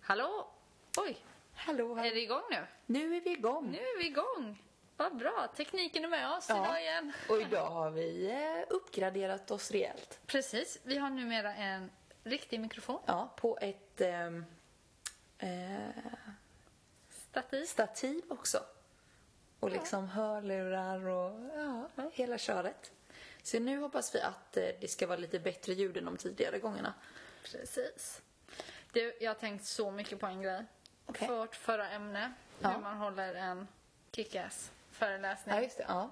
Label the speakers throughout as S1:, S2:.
S1: Hallå! Oj,
S2: Oh, Hallå,
S1: är det igång nu?
S2: Nu är vi igång.
S1: Nu är vi igång! Vad bra, tekniken är med oss
S2: Ja.
S1: idag igen.
S2: Och idag har vi eh, uppgraderat oss rejält.
S1: Precis, vi har numera en riktig mikrofon,
S2: Ja, på ett ehm, eh,
S1: stativ.
S2: stativ också. Och liksom hörlurar och ja, hela köret. Så nu hoppas vi att eh, det ska vara lite bättre ljud än de tidigare gångerna.
S1: Precis. Du, jag har tänkt så mycket på en grej.
S2: Okej.
S1: För vårt förra ämne,
S2: Ja.
S1: hur man håller en kickass föreläsning.
S2: Ja, just det. Ja.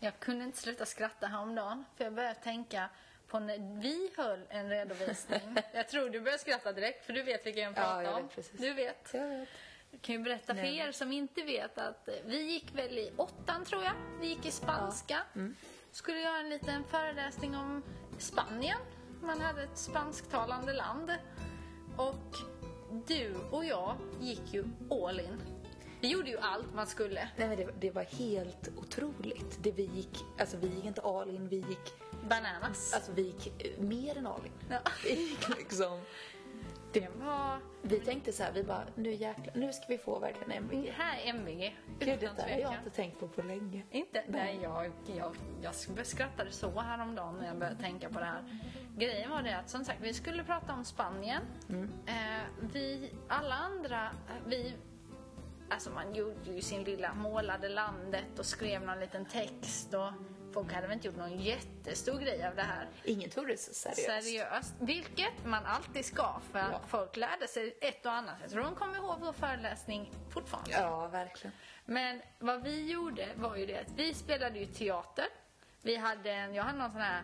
S1: Jag kunde inte sluta skratta häromdagen, för jag började tänka på när vi höll en redovisning. jag tror du började skratta direkt, för du vet vilka jag
S2: Ja,
S1: pratar
S2: jag
S1: om.
S2: vet precis.
S1: Du vet.
S2: Jag vet.
S1: Jag kan ju berätta för
S2: Nej.
S1: er som inte vet att eh, vi gick väl i åttan tror jag. Vi gick i spanska.
S2: Mm.
S1: Skulle göra en liten föreläsning om Spanien. Man hade ett spansktalande land. Och du och jag gick ju all in. Vi gjorde ju allt man skulle.
S2: Nej, men det, det var helt otroligt. Det vi gick, alltså vi gick inte all in, vi gick,
S1: Bananas.
S2: alltså vi gick eh, mer än all in.
S1: Ja.
S2: Vi gick liksom...
S1: Det
S2: Mm.
S1: var...
S2: Vi tänkte så här, vi bara, nu jäklar, nu ska vi få verkligen
S1: Det
S2: MVG.
S1: här är MVG.
S2: Gud,
S1: Mm. Utan
S2: detta har jag
S1: tvekan.
S2: inte tänkt på på länge.
S1: Inte? Nej, jag, jag, jag skrattade så häromdagen när jag började tänka på det här. Grejen var det att som sagt, vi skulle prata om Spanien.
S2: Mm.
S1: Eh, vi, alla andra, vi, alltså man gjorde ju sin lilla, målade landet och skrev någon liten text och folk hade väl inte gjort någon jättestor grej av det här.
S2: Ingen tog det så seriöst.
S1: Seriöst. Vilket man alltid ska för att
S2: Ja.
S1: folk lärde sig ett och annat. Jag tror de kommer ihåg vår föreläsning fortfarande.
S2: Ja, verkligen.
S1: Men vad vi gjorde var ju det att vi spelade ju teater. Vi hade en, jag hade någon sån här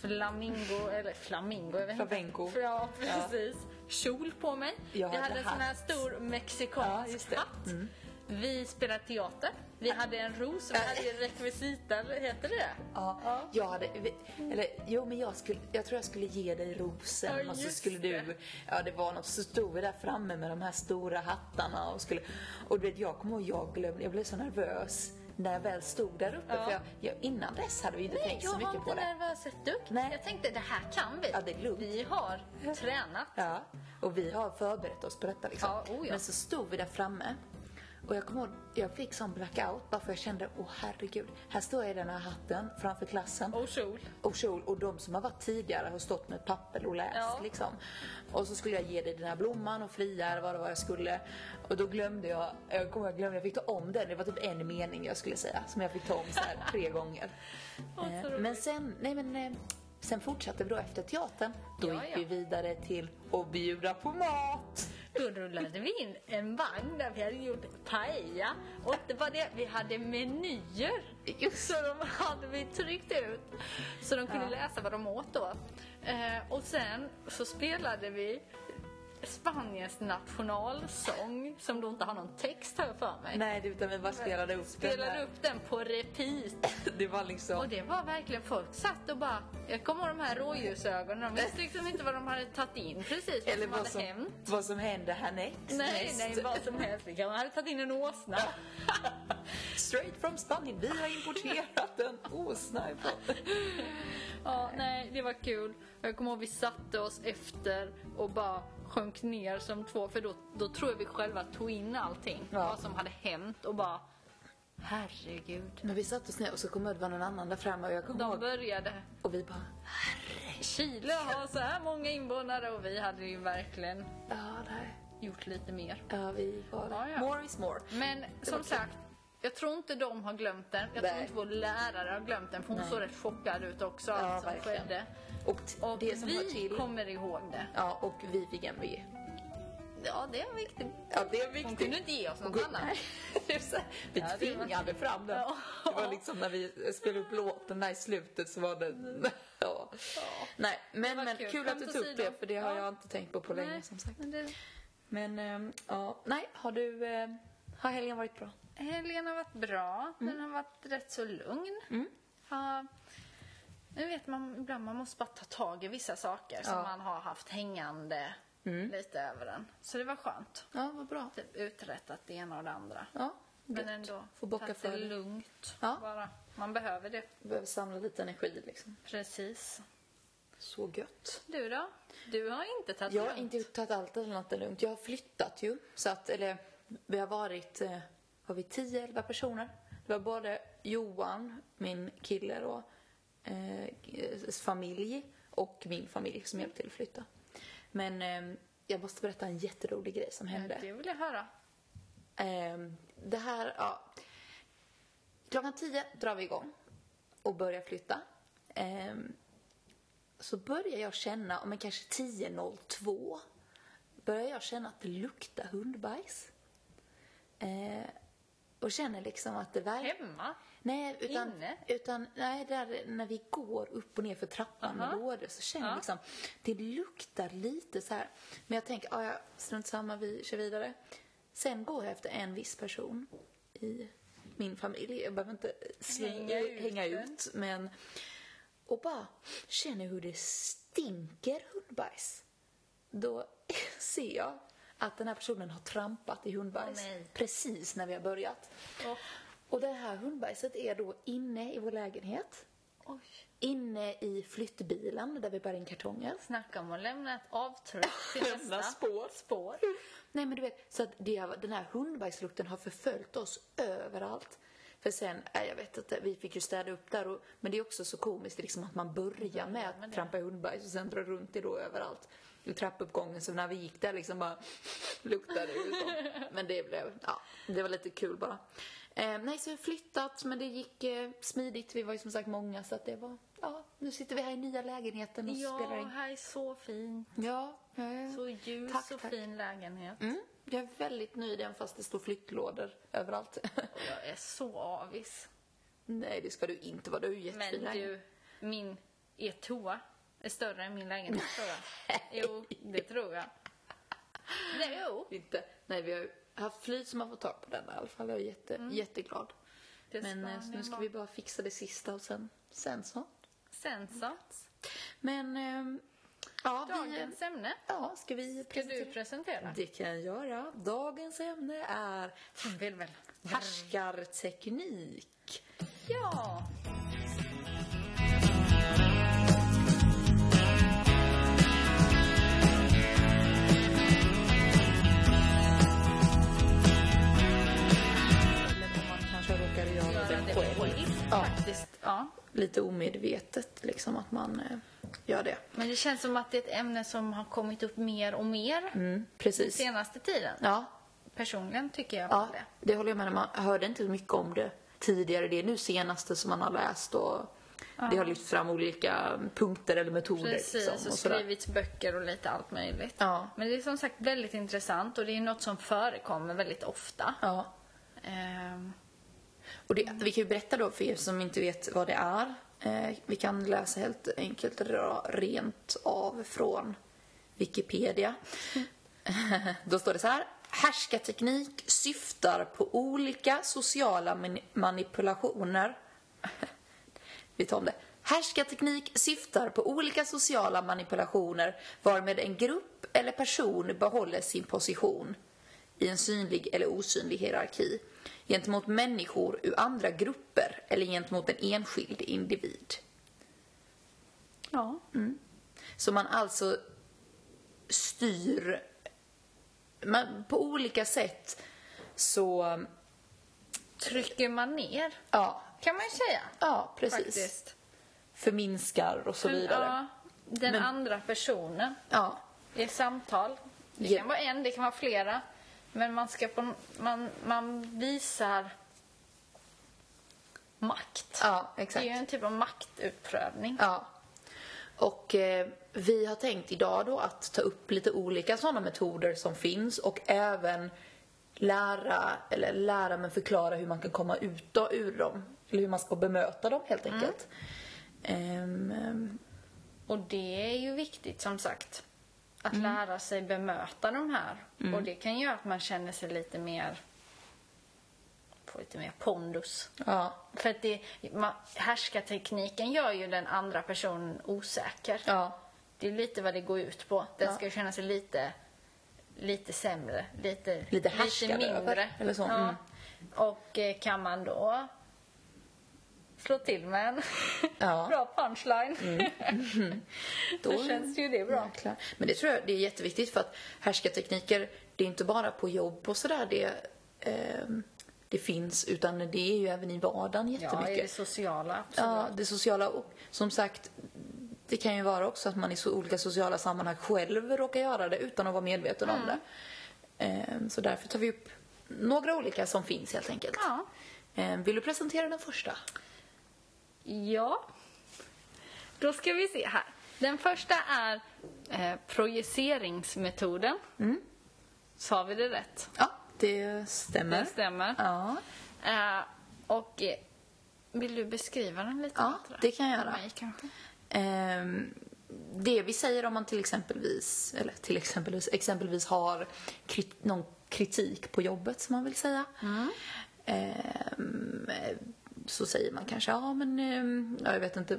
S1: flamingo, eller flamingo, jag vet inte.
S2: Flamenco.
S1: Ja, precis. Kjol på mig.
S2: Jag
S1: vi
S2: hade
S1: hade en sån här
S2: hatt.
S1: stor
S2: Ja,
S1: mexikansk
S2: just det. Mm. Äh.
S1: hatt. Vi spelade teater. Vi hade en ros, vi hade ju rekvisita, eller heter det
S2: Ja, Jag hade, vi- eller jo men jag skulle, jag tror jag skulle ge dig rosen
S1: Ja,
S2: och så
S1: just
S2: skulle
S1: det.
S2: du, ja det var något, så stod vi där framme med de här stora hattarna och skulle, och du vet jag kommer ihåg, jag glömde, jag blev så nervös när jag väl stod där uppe
S1: Ja.
S2: för jag, jag, innan dess hade vi inte
S1: Nej,
S2: tänkt
S1: jag
S2: så
S1: var
S2: mycket på
S1: inte
S2: det.
S1: nervös ett dugg.
S2: Nej.
S1: Jag tänkte det här kan vi.
S2: Ja, det är lugnt.
S1: Vi har tränat.
S2: Ja, Alltså. och vi har förberett oss på detta liksom.
S1: Ja, oh ja.
S2: Men så stod vi där framme och jag kommer ihåg, jag fick sån blackout bara för jag kände, åh herregud, här står jag i den här hatten framför klassen
S1: Och kjol.
S2: och kjol och de som har varit tidigare har stått med papper och läst
S1: Ja.
S2: liksom. Och så skulle jag ge dig den här blomman och fria eller vad det var jag skulle. Och då glömde jag, jag kommer ihåg, jag glömde, jag fick ta om den, det var typ en mening jag skulle säga som jag fick ta om så här tre gånger. Eh,
S1: roligt.
S2: men sen, nej men eh, Sen fortsatte vi då efter teatern. Då
S1: Ja,
S2: gick
S1: ja.
S2: vi vidare till att bjuda på mat.
S1: Då rullade vi in en vagn där vi hade gjort paella. Och det var det, vi hade menyer. Så de hade vi tryckt ut. Så de kunde läsa vad de åt då. Eh, och sen så spelade vi Spaniens nationalsång som då inte har någon text här för mig.
S2: Nej, utan vi bara spelade upp den.
S1: Spelade
S2: här.
S1: upp den på repeat.
S2: Det var liksom...
S1: Och det var verkligen, folk satt och bara, jag kommer ihåg de här rådjursögonen, de visste liksom inte vad de hade tagit in precis, vad
S2: eller
S1: som
S2: vad
S1: hade
S2: som,
S1: hänt.
S2: vad som hände härnäst.
S1: Nej,
S2: Näst.
S1: nej, vad som helst. Vi kanske hade tagit in en åsna.
S2: Straight from Spanien. Vi har importerat en åsna ifrån.
S1: Ja, nej, det var kul. Jag kommer ihåg vi satte oss efter och bara sjönk ner som två, för då, då tror jag vi själva tog in allting,
S2: Ja.
S1: vad som hade hänt och bara herregud.
S2: Men vi satte oss ner och så kom det var någon annan där framme och jag kom
S1: De
S2: ihåg.
S1: började.
S2: Och vi bara,
S1: Chile har så här många invånare och vi hade ju verkligen
S2: ja det här,
S1: gjort lite mer.
S2: ja vi var
S1: Ja, ja.
S2: More is more.
S1: Men som
S2: kul.
S1: sagt, jag tror inte de har glömt den. Jag tror
S2: Nej.
S1: inte vår lärare har glömt den, för hon
S2: Nej.
S1: såg rätt chockad ut också, allt som
S2: verkligen.
S1: skedde.
S2: Och, t-
S1: Och
S2: det som hör
S1: vi
S2: till.
S1: kommer ihåg det.
S2: Ja, och vi fick MVG.
S1: Ja, det är viktigt.
S2: Ja, det är
S1: Hon
S2: viktigt.
S1: kunde inte ge oss något annat.
S2: Det är så här, vi
S1: Ja, det var-
S2: tvingade fram den.
S1: Ja.
S2: Det var liksom när vi spelade upp låten där i slutet så var det... Ja. Nej, men,
S1: Mm. var
S2: men
S1: kul.
S2: kul, att du
S1: Skämt
S2: tog upp
S1: åsido.
S2: det för det har
S1: Ja.
S2: jag inte tänkt på på länge
S1: Nej,
S2: som sagt.
S1: men det-
S2: Men ehm, ja, nej, har du... eh, har helgen varit bra?
S1: Helgen har varit bra.
S2: Mm.
S1: Den har varit rätt så lugn. Ja, nu vet man ibland man måste bara ta tag i vissa saker som
S2: Ja. Mm.
S1: man har haft hängande lite över en. Så det var skönt.
S2: Ja, vad bra.
S1: Typ uträttat det ena och det andra.
S2: Ja,
S1: Men
S2: gött.
S1: ändå
S2: Får bocka
S1: tagit
S2: för
S1: det
S2: det.
S1: lugnt
S2: Ja.
S1: bara. Man behöver det.
S2: Behöver samla lite energi liksom.
S1: Precis.
S2: Så gött.
S1: Du då? Du har inte tagit
S2: Jag har
S1: lugnt.
S2: inte tagit allt annat än lugnt. Jag har flyttat ju. Så att, eller, vi har varit, eh, var vi 10-11 personer. Det var både Johan, min kille då, eh, eh, familj och min familj som hjälpte till att flytta. Men eh, jag måste berätta en jätterolig grej som hände.
S1: Det vill jag höra.
S2: Ehm, det här, ja. Klockan 10 drar vi igång och börjar flytta. Ehm, så börjar jag känna, om kanske 10.02, börjar jag känna att det luktar hundbajs. Ehm, och känner liksom att det verkar...
S1: Hemma?
S2: Nej, utan,
S1: Inne?
S2: utan nej, där, när vi går upp och ner för trappan med
S1: Aha.
S2: lådor så känner jag
S1: Ja.
S2: liksom, det luktar lite så här. Men jag tänker, ah, ja, strunt samma, vi kör vidare. Sen går jag efter en viss person i min familj. Jag behöver inte slänga,
S1: Hänga ut
S2: hänga
S1: den.
S2: ut, men... Och bara känner hur det stinker hundbajs. Då ser jag att den här personen har trampat i hundbajs
S1: Åh, nej.
S2: precis när vi har börjat.
S1: Åh.
S2: Och det här hundbajset är då inne i vår lägenhet.
S1: Oj.
S2: Inne i flyttbilen där vi bär in kartonger.
S1: Snacka om att lämna ett avtryck till
S2: Lämna
S1: nästa.
S2: spår.
S1: spår.
S2: Nej men du vet, så att det, har- den här hundbajslukten har förföljt oss överallt. För sen, nej, jag vet inte, vi fick ju städa upp där och, men det är också så komiskt liksom att man börjar med
S1: med
S2: att
S1: det.
S2: trampa i hundbajs och sen drar runt det då överallt. I trappuppgången, så när vi gick där liksom bara luktade det ju så. Men det blev, ja, det var lite kul bara. Eh, nej, så vi har flyttat, men det gick eh, smidigt. Vi var ju som sagt många så att det var, ja, nu sitter vi här i nya lägenheten och spelar
S1: Ja,
S2: in.
S1: här är så fin.
S2: Ja, ja, ja.
S1: Så ljus
S2: Tack,
S1: och
S2: tack.
S1: fin lägenhet.
S2: Mm, jag är väldigt nöjd även fast det står flyttlådor överallt.
S1: Och jag är så avis.
S2: Mm. Nej, det ska du inte vara. Du har ju
S1: Men
S2: jättefin lägenhet.
S1: du, min er toa är större än min lägenhet tror jag. Jo, det tror jag. Nej, jo.
S2: Inte. Nej, vi har ju haft flyt som har fått tag på den i alla fall. Jag är jätte, jätteglad.
S1: Mm. Det ska
S2: Men eh, så
S1: ni
S2: nu ska
S1: vara.
S2: vi bara fixa det sista och sen, sen så.
S1: Sen så.
S2: Men, ehm, ja, vi,
S1: Dagens ämne
S2: ja, ska vi
S1: ska du presentera.
S2: Det kan jag göra. Dagens ämne är
S1: Hon vill väl.
S2: härskarteknik.
S1: Ja.
S2: Eller om man kanske råkade göra
S1: Göra
S2: det
S1: det
S2: själv.
S1: själv,
S2: Ja.
S1: faktiskt. Ja.
S2: Lite omedvetet liksom att man eh, gör det.
S1: Men det känns som att det är ett ämne som har kommit upp mer och mer
S2: Mm, precis.
S1: senaste tiden.
S2: Ja,
S1: Personligen tycker jag
S2: ja,
S1: väl det.
S2: det håller jag med om. Man hörde inte så mycket om det tidigare. Det är nu senaste som man har läst och det har lyft fram olika punkter eller metoder.
S1: Precis,
S2: liksom,
S1: och
S2: sådär.
S1: skrivits böcker och lite allt möjligt.
S2: Ja.
S1: Men det är som sagt väldigt intressant och det är något som förekommer väldigt ofta.
S2: Ja.
S1: Ehm,
S2: Och det, vi kan ju berätta då för er som inte vet vad det är. Eh, vi kan läsa helt enkelt ra- rent av från Wikipedia. då står det så här. Härskarteknik syftar på olika sociala mani- manipulationer. Vi tar om det. Härskarteknik syftar på olika sociala manipulationer varmed en grupp eller person behåller sin position i en synlig eller osynlig hierarki gentemot människor ur andra grupper eller gentemot en enskild individ.
S1: ja.
S2: Så man alltså styr man, på olika sätt så,
S1: Trycker man ner,
S2: ja,
S1: kan man ju säga.
S2: ja precis.
S1: Faktiskt.
S2: Förminskar och så vidare.
S1: Ja, den andra personen
S2: ja.
S1: i ett samtal. Det
S2: Ja.
S1: kan vara en, det kan vara flera. Men man, ska på, man, man visar makt.
S2: Ja,
S1: det är
S2: exakt.
S1: ju en typ av maktutprövning.
S2: Ja. Och eh, vi har tänkt idag då att ta upp lite olika sådana metoder som finns och även lära, eller lära men förklara hur man kan komma ut då, ur dem. Eller hur man ska bemöta dem
S1: Mm.
S2: helt enkelt. Ehm, ehm,
S1: Och det är ju viktigt som sagt. Att
S2: Mm.
S1: lära sig bemöta de här. Och det kan göra att man känner sig lite mer... Får lite mer pondus.
S2: ja,
S1: För att det, man, härskartekniken gör ju den andra personen osäker.
S2: ja,
S1: Det är lite vad det går ut på. Den
S2: Ja.
S1: ska ju känna sig lite, lite sämre. Lite,
S2: Lite härskare över,
S1: mindre.
S2: eller så,
S1: Ja.
S2: mm.
S1: Och eh, kan man då slå till med en
S2: Ja. Mm.
S1: bra punchline. Då Mm.
S2: Då-
S1: känns ju det bra.
S2: Jäklar. Men det tror jag det är jätteviktigt för att härskartekniker, det är inte bara på jobb och sådär det, ehm, det finns utan det är ju även i vardagen
S1: Ja, i det
S2: jättemycket.
S1: sociala. absolut.
S2: Ja, det sociala och som sagt det kan ju vara också att man i så olika sociala sammanhang själv råkar göra det utan att vara medveten
S1: Mm.
S2: om det. Ehm, så därför tar vi upp några olika som finns helt enkelt.
S1: Ja.
S2: Ehm, vill du presentera den första?
S1: Ja. Då ska vi se här. Den första är eh, projiceringsmetoden. Sa vi det rätt?
S2: Ja, det stämmer.
S1: Det stämmer.
S2: Ja.
S1: Eh, och eh, vill du beskriva den lite?
S2: Ja,
S1: bättre?
S2: det kan jag göra.
S1: För mig kanske.
S2: Ehm, det vi säger om man till exempelvis, eller till exempelvis, exempelvis har krit, någon kritik på jobbet som man vill säga. Ehm, så säger man kanske, ja men, ehm, ja, jag vet inte,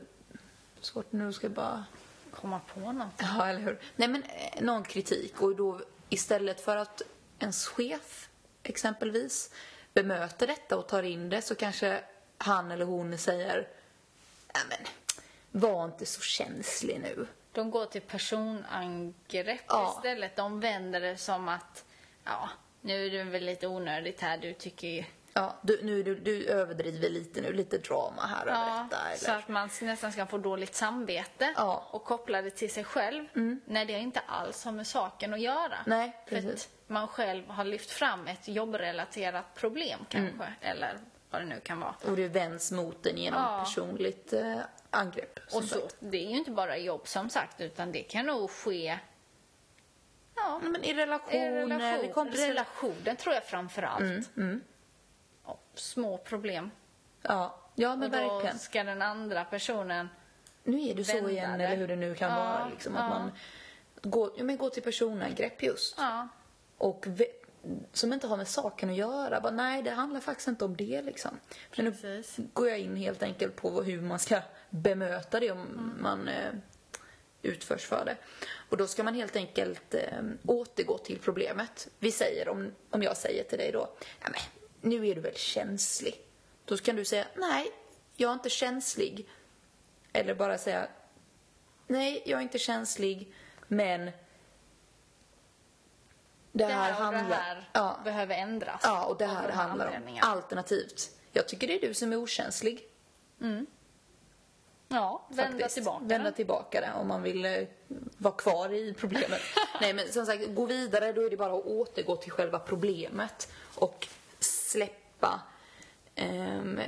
S2: svårt nu ska jag bara
S1: Komma på något.
S2: Ja, eller hur? Nej, men eh, någon kritik. Och då istället för att ens chef exempelvis bemöter detta och tar in det så kanske han eller hon säger Nej men, var inte så känslig nu.
S1: De går till personangrepp
S2: Ja.
S1: istället. De vänder det som att, ja, nu är det väl lite onödigt här. Du tycker ju...
S2: Ja, du, nu, du, du överdriver lite nu, lite drama här över
S1: Ja,
S2: detta. Eller?
S1: så att man nästan ska få dåligt samvete
S2: Ja. Mm.
S1: och koppla det till sig själv när det inte alls har med saken att göra.
S2: Nej,
S1: för
S2: precis.
S1: att man själv har lyft fram ett jobbrelaterat problem
S2: Mm.
S1: kanske, eller vad det nu kan vara.
S2: Och det vänds mot den genom
S1: Ja.
S2: personligt eh, angrepp. som
S1: Och så,
S2: sagt.
S1: det är ju inte bara jobb som sagt, utan det kan nog ske ja,
S2: Nej, men i
S1: i
S2: relationer, i
S1: relation,
S2: kompisrelationer.
S1: relationen tror jag framför allt.
S2: Mm,
S1: Ja, små problem.
S2: Ja, ja men
S1: och då
S2: verkligen.
S1: ska den andra personen
S2: nu är du så
S1: vända
S2: igen
S1: det.
S2: eller hur det nu kan
S1: Ja,
S2: vara. Liksom, att
S1: ja.
S2: man går, ja, men går till personangrepp just.
S1: ja,
S2: Och ve- som inte har med saken att göra. Bara, nej, det handlar faktiskt inte om det. Liksom. För nu
S1: Precis.
S2: går jag in helt enkelt på hur man ska bemöta det om man eh, utförs för det. Och då ska man helt enkelt eh, återgå till problemet. Vi säger, om, om jag säger till dig då, "Ja, men, nu är du väl känslig? Då kan du säga, nej, jag är inte känslig. Eller bara säga, nej, jag är inte känslig, men det
S1: det här
S2: här,
S1: och
S2: handlar...
S1: det här
S2: Ja.
S1: behöver ändras.
S2: Ja, och det
S1: av
S2: här
S1: de
S2: handlar om
S1: anledningarna.
S2: alternativt. Jag tycker det är du som är okänslig.
S1: Ja, vända
S2: faktiskt.
S1: tillbaka.
S2: Vända tillbaka det om man vill eh, vara kvar i problemet. Nej, men som sagt, gå vidare. Då är det bara att återgå till själva problemet och släppa ehm,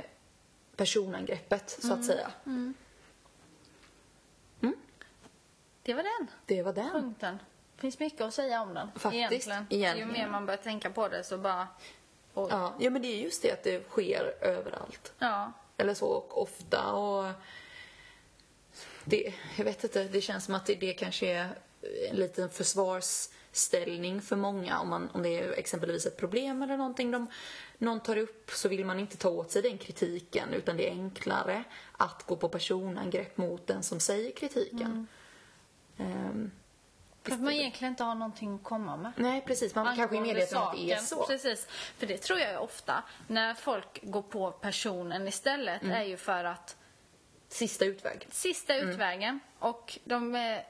S2: personangreppet, så
S1: Mm.
S2: att säga.
S1: Det var den
S2: Det var den.
S1: punkten. Det finns mycket att säga om den.
S2: Faktiskt,
S1: egentligen.
S2: egentligen.
S1: Ju mer man börjar tänka på det så bara... Oj. Ja.
S2: Ja, ja, men det är just det att det sker överallt. Eller så, och ofta och... Det, jag vet inte, det känns som att det, det kanske är en liten försvarsställning för många. Om, man, om det är exempelvis ett problem eller någonting de, någon tar upp så vill man inte ta åt sig den kritiken utan det är enklare att gå på personangrepp mot den som säger kritiken. Ehm,
S1: Mm. För att man egentligen inte har någonting att komma med.
S2: nej, precis. Man kanske är
S1: Angående
S2: medveten om att det är
S1: saken.
S2: så.
S1: Precis. För det tror jag är ofta, när folk går på personen istället,
S2: Mm.
S1: är ju för att
S2: Sista utväg.
S1: sista
S2: Mm.
S1: utvägen och de är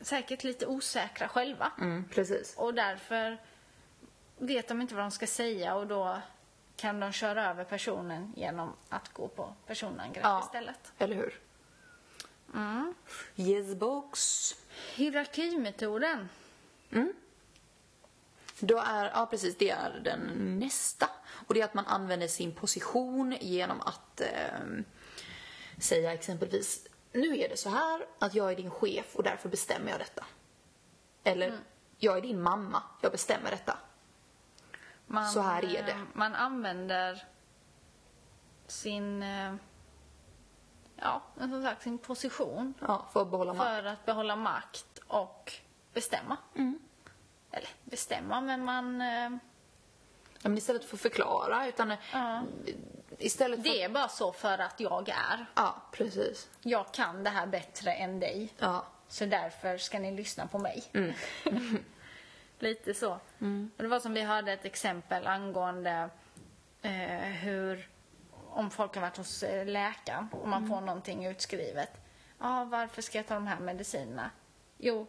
S1: säkert lite osäkra själva.
S2: Mm, precis.
S1: Och därför vet de inte vad de ska säga och då kan de köra över personen genom att gå på personangrepp
S2: Ja.
S1: istället. Mm.
S2: Eller hur? Yes, box.
S1: Hierarkimetoden.
S2: Då är, ja precis, det är den nästa. Och det är att man använder sin position genom att eh, säga exempelvis Nu är det så här att jag är din chef och därför bestämmer jag detta. Eller
S1: Mm.
S2: Jag är din mamma, jag bestämmer detta.
S1: Man,
S2: Så här är det.
S1: eh, Man använder sin, eh, ja, men som sagt, sin position
S2: Ja, för att behålla makt.
S1: för att behålla makt och bestämma.
S2: Mm.
S1: Eller bestämma, men man... eh,
S2: Ja, men istället för att förklara utan
S1: Ja.
S2: istället för...
S1: Det är bara så för att jag är.
S2: Ja, precis.
S1: Jag kan det här bättre än dig.
S2: Ja.
S1: Så därför ska ni lyssna på mig. Lite så. Och det var som vi hörde ett exempel angående eh, hur om folk har varit hos eh, läkaren och man får någonting utskrivet. Ja, varför ska jag ta de här medicinerna? Jo,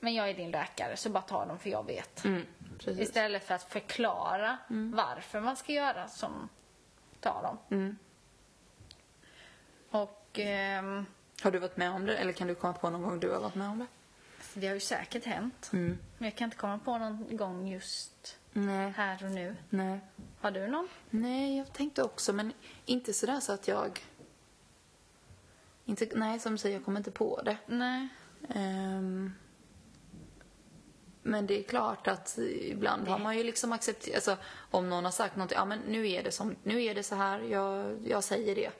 S1: men jag är din läkare så bara ta dem för jag vet.
S2: Mm, precis.
S1: Istället för att förklara varför man ska göra som tar dem. Och ehm,
S2: Har du varit med om det? Eller kan du komma på någon gång du har varit med om det?
S1: det har ju säkert hänt. Men jag kan inte komma på någon gång just
S2: Nej.
S1: här och nu.
S2: Nej.
S1: Har du någon?
S2: Nej, jag tänkte också, men inte sådär så att jag... Inte, nej, som du säger, jag kommer inte på det.
S1: Nej.
S2: Ehm, men det är klart att ibland har man ju liksom accepterat... Alltså, om någon har sagt någonting, ja men nu är det, som, nu är det så här, jag, jag säger det.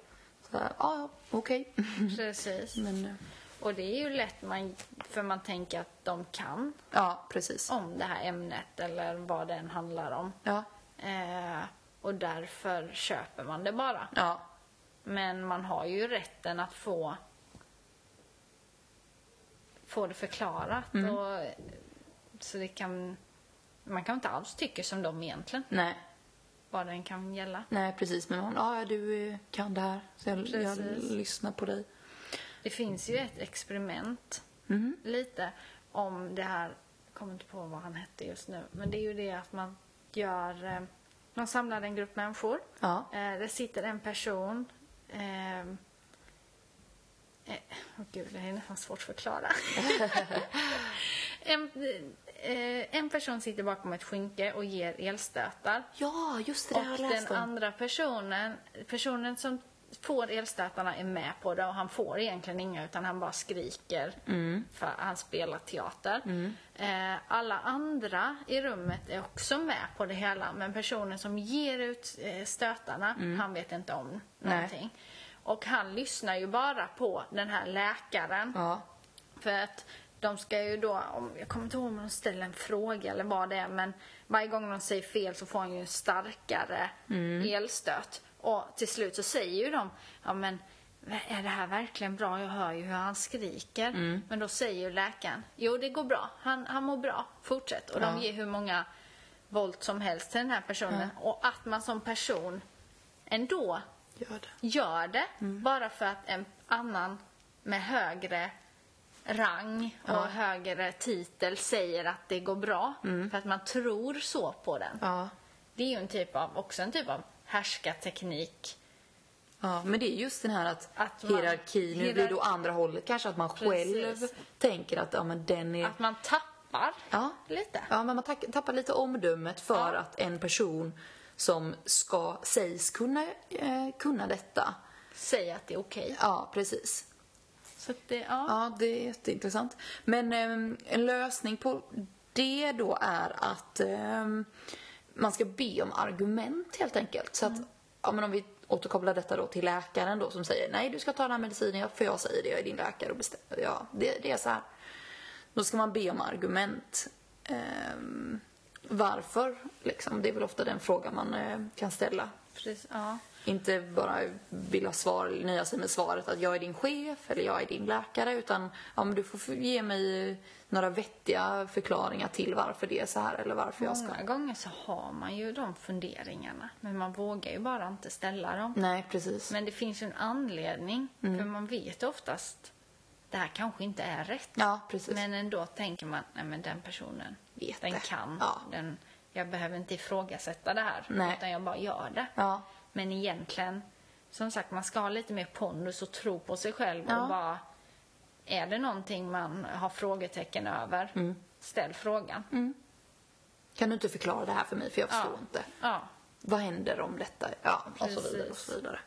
S2: Så här, ja, ja, okej.
S1: Mm. Precis.
S2: Men, eh,
S1: Och det är ju lätt man, för man tänker att de kan
S2: ja, precis.
S1: om det här ämnet eller vad det än handlar om.
S2: Ja,
S1: Eh, och därför köper man det bara.
S2: ja,
S1: Men man har ju rätten att få få det förklarat. Och, så det kan... Man kan inte alls tycka som de egentligen,
S2: nej.
S1: vad den kan gälla.
S2: Nej, precis. Men man, ja, du eh, kan det här. Så jag, jag
S1: Precis.
S2: lyssnar på dig.
S1: Det finns ju ett experiment, lite, om det här, jag kommer inte på vad han hette just nu, men det är ju det att man gör, eh, man samlar en grupp människor.
S2: Ja.
S1: Eh, det sitter en person, eh, eh, åh gud, det här är nästan svårt att förklara. en, eh, en person sitter bakom ett skynke och ger elstötar.
S2: Ja, just det. där har
S1: Och
S2: jag läst
S1: den
S2: om.
S1: andra personen, personen som får elstötarna är med på det och han får egentligen inga utan han bara skriker för han spelar teater. Eh, alla andra i rummet är också med på det hela men personen som ger ut eh, stötarna, han vet inte om
S2: Nej.
S1: någonting. Och han lyssnar ju bara på den här läkaren.
S2: Ja.
S1: För att de ska ju då, om, jag kommer inte ihåg om de ställer en fråga eller vad det är, men varje gång de säger fel så får han ju en starkare elstöt. Och till slut så säger ju de, ja men är det här verkligen bra? Jag hör ju hur han skriker. Men då säger ju läkaren, jo det går bra, han, han mår bra, fortsätt. Och de ger hur många volt som helst till den här personen. Och att man som person ändå
S2: Gör det.
S1: gör det
S2: Mm.
S1: bara för att en annan med högre rang och högre titel säger att det går bra. För att man tror så på den.
S2: Mm. Ja.
S1: Det är ju en typ av, också en typ av härskarteknik.
S2: ja. Men det är just den här att,
S1: Att man-
S2: hierarki, nu blir det
S1: hierarki.
S2: åt andra hållet kanske, att man själv
S1: Precis.
S2: tänker att ja, men den är...
S1: Att man tappar
S2: Ja.
S1: lite.
S2: Ja, men man tack- tappar lite omdömet för
S1: Ja.
S2: att en person som ska, sägs kunna, eh, kunna detta.
S1: Säger att det är okej.
S2: Ja, precis.
S1: Så att det, ja.
S2: Ja, det är jätteintressant. Men ehm, en lösning på det då är att ehm, man ska be om argument helt enkelt. Så att, ja, men om vi återkopplar detta då till läkaren då som säger nej du ska ta den här medicinen ja, för jag säger det, jag är din läkare och bestämmer. Ja, det, det är så här. Då ska man be om argument. Ehm, varför? Liksom, det är väl ofta den frågan man eh, kan ställa.
S1: Precis, ja.
S2: Inte bara vilja svar, nöja sig med svaret att jag är din chef eller jag är din läkare utan ja, men du får ge mig några vettiga förklaringar till varför det är så här eller varför jag ska...
S1: Många gånger så har man ju de funderingarna. Men man vågar ju bara inte ställa dem.
S2: Nej, precis.
S1: Men det finns ju en anledning.
S2: Mm.
S1: För man vet oftast det här kanske inte är rätt.
S2: Ja, precis.
S1: Men ändå tänker man, nej men den personen,
S2: Vet
S1: den
S2: det."
S1: kan.
S2: Ja.
S1: Den, jag behöver inte ifrågasätta det här.
S2: Nej.
S1: Utan jag bara gör det.
S2: Ja.
S1: Men egentligen, som sagt, man ska ha lite mer pondus och tro på sig själv.
S2: Ja.
S1: Och bara, är det någonting man har frågetecken över,
S2: Mm.
S1: ställ frågan.
S2: Kan du inte förklara det här för mig för jag förstår Mm, inte.
S1: Ja.
S2: Vad händer om detta? Ja, och så
S1: Precis.
S2: vidare och så vidare.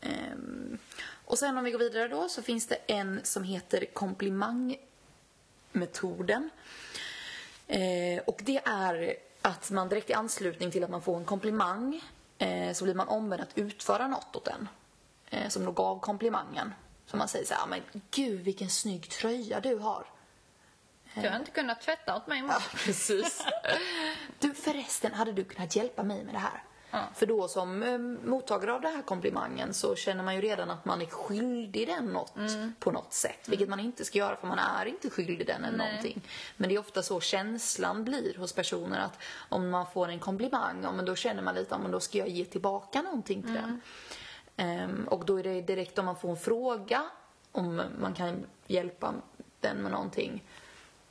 S2: Ehm, och sen om vi går vidare då så finns det en som heter komplimangmetoden. Eh, och det är att man direkt i anslutning till att man får en komplimang eh, så blir man ombedd att utföra något åt den. Eh, som då gav komplimangen. Så man säger så här, men gud vilken snygg tröja du har.
S1: Du har inte kunnat tvätta åt mig imorgon.
S2: Precis. Du förresten, hade du kunnat hjälpa mig med det här? För då som eh, mottagare av den här komplimangen så känner man ju redan att man är skyldig den något på något sätt. Vilket man inte ska göra för man är inte skyldig den eller någonting. Men det är ofta så känslan blir hos personer att om man får en komplimang, ja, men då känner man lite, ja, men då ska jag ge tillbaka någonting till den. Ehm, och då är det direkt om man får en fråga om man kan hjälpa den med någonting.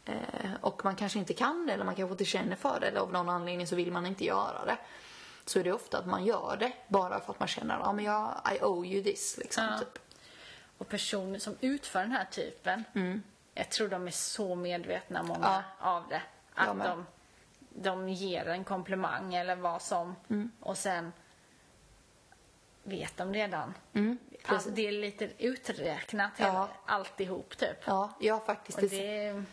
S2: Eh, och man kanske inte kan det eller man kanske inte känner för det eller av någon anledning så vill man inte göra det. Så är det ofta att man gör det bara för att man känner att men jag, I owe you this. Liksom,
S1: Ja.
S2: typ.
S1: Och personer som utför den här typen,
S2: Mm.
S1: jag tror de är så medvetna, många, av det.
S2: Jag
S1: Att
S2: med.
S1: de, de ger en komplimang eller vad som
S2: Mm.
S1: och sen vet de redan. Allt, det är lite uträknat,
S2: Mm, Ja.
S1: ja. alltihop typ.
S2: ja, jag har faktiskt...
S1: Och det är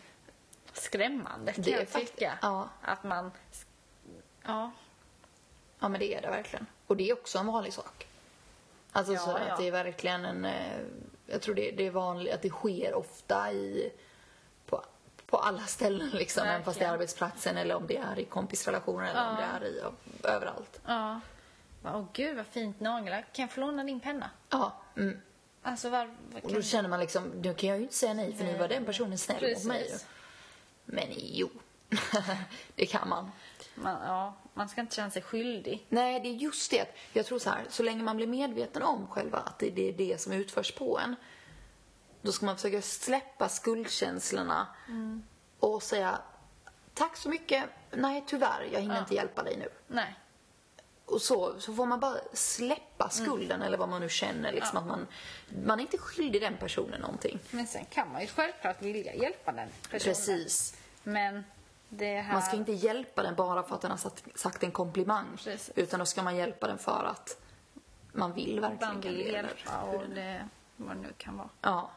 S1: skrämmande kan
S2: Det är
S1: jag
S2: fakt-
S1: tycka.
S2: ja.
S1: Att man... Ja,
S2: Ja men det är det verkligen. Och det är också en vanlig sak. Alltså
S1: Ja,
S2: så att
S1: ja.
S2: det är verkligen en... eh, Jag tror det, det är vanligt att det sker ofta i... På, på alla ställen liksom. Även fast det är
S1: Verkligen.
S2: arbetsplatsen eller om det är i kompisrelationer eller om det är i överallt.
S1: ja. Åh gud vad fint nagellack. Kan jag få låna din penna?
S2: Ja. Mm.
S1: Alltså var,
S2: Och
S1: kan...
S2: då känner man liksom, nu kan jag ju inte säga nej för nu var den personen snäll mot mig. ju.
S1: Precis.
S2: Men jo. det kan man.
S1: Man, ja, man ska inte känna sig skyldig.
S2: Nej, det är just det. Jag tror så här, så länge man blir medveten om själva att det, det är det som utförs på en. Då ska man försöka släppa skuldkänslorna
S1: Mm.
S2: och säga tack så mycket. Nej, tyvärr, jag hinner inte hjälpa dig nu.
S1: Nej.
S2: Och så, så får man bara släppa
S1: Mm.
S2: skulden eller vad man nu känner. Liksom, att man, man är inte skyldig den personen någonting.
S1: Men sen kan man ju självklart vilja hjälpa den personen.
S2: Precis.
S1: Men det här...
S2: Man ska inte hjälpa den bara för att den har sagt, sagt en komplimang.
S1: Precis.
S2: Utan då ska man hjälpa den för att man vill verkligen
S1: man vill
S2: det, eller
S1: hjälpa
S2: hur
S1: och
S2: det nu-
S1: det, vad det nu kan vara.
S2: Ja.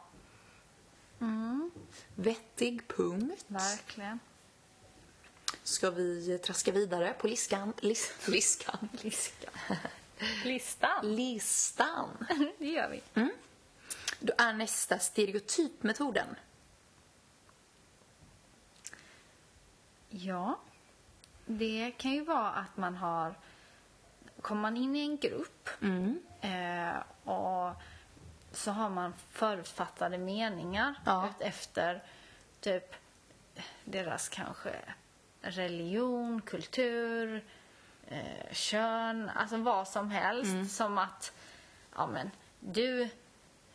S1: Mm.
S2: Vettig punkt.
S1: Verkligen.
S2: Ska vi traska vidare på liskan? Lis, liskan?
S1: Liskan. Listan.
S2: Listan.
S1: Det gör vi.
S2: Då är nästa stereotypmetoden.
S1: Ja. Det kan ju vara att man har... Kommer man in i en grupp eh, och så har man förutfattade meningar
S2: Ja.
S1: ut- efter typ deras kanske religion, kultur, eh, kön, alltså vad som helst.
S2: Mm.
S1: Som att, ja men, du,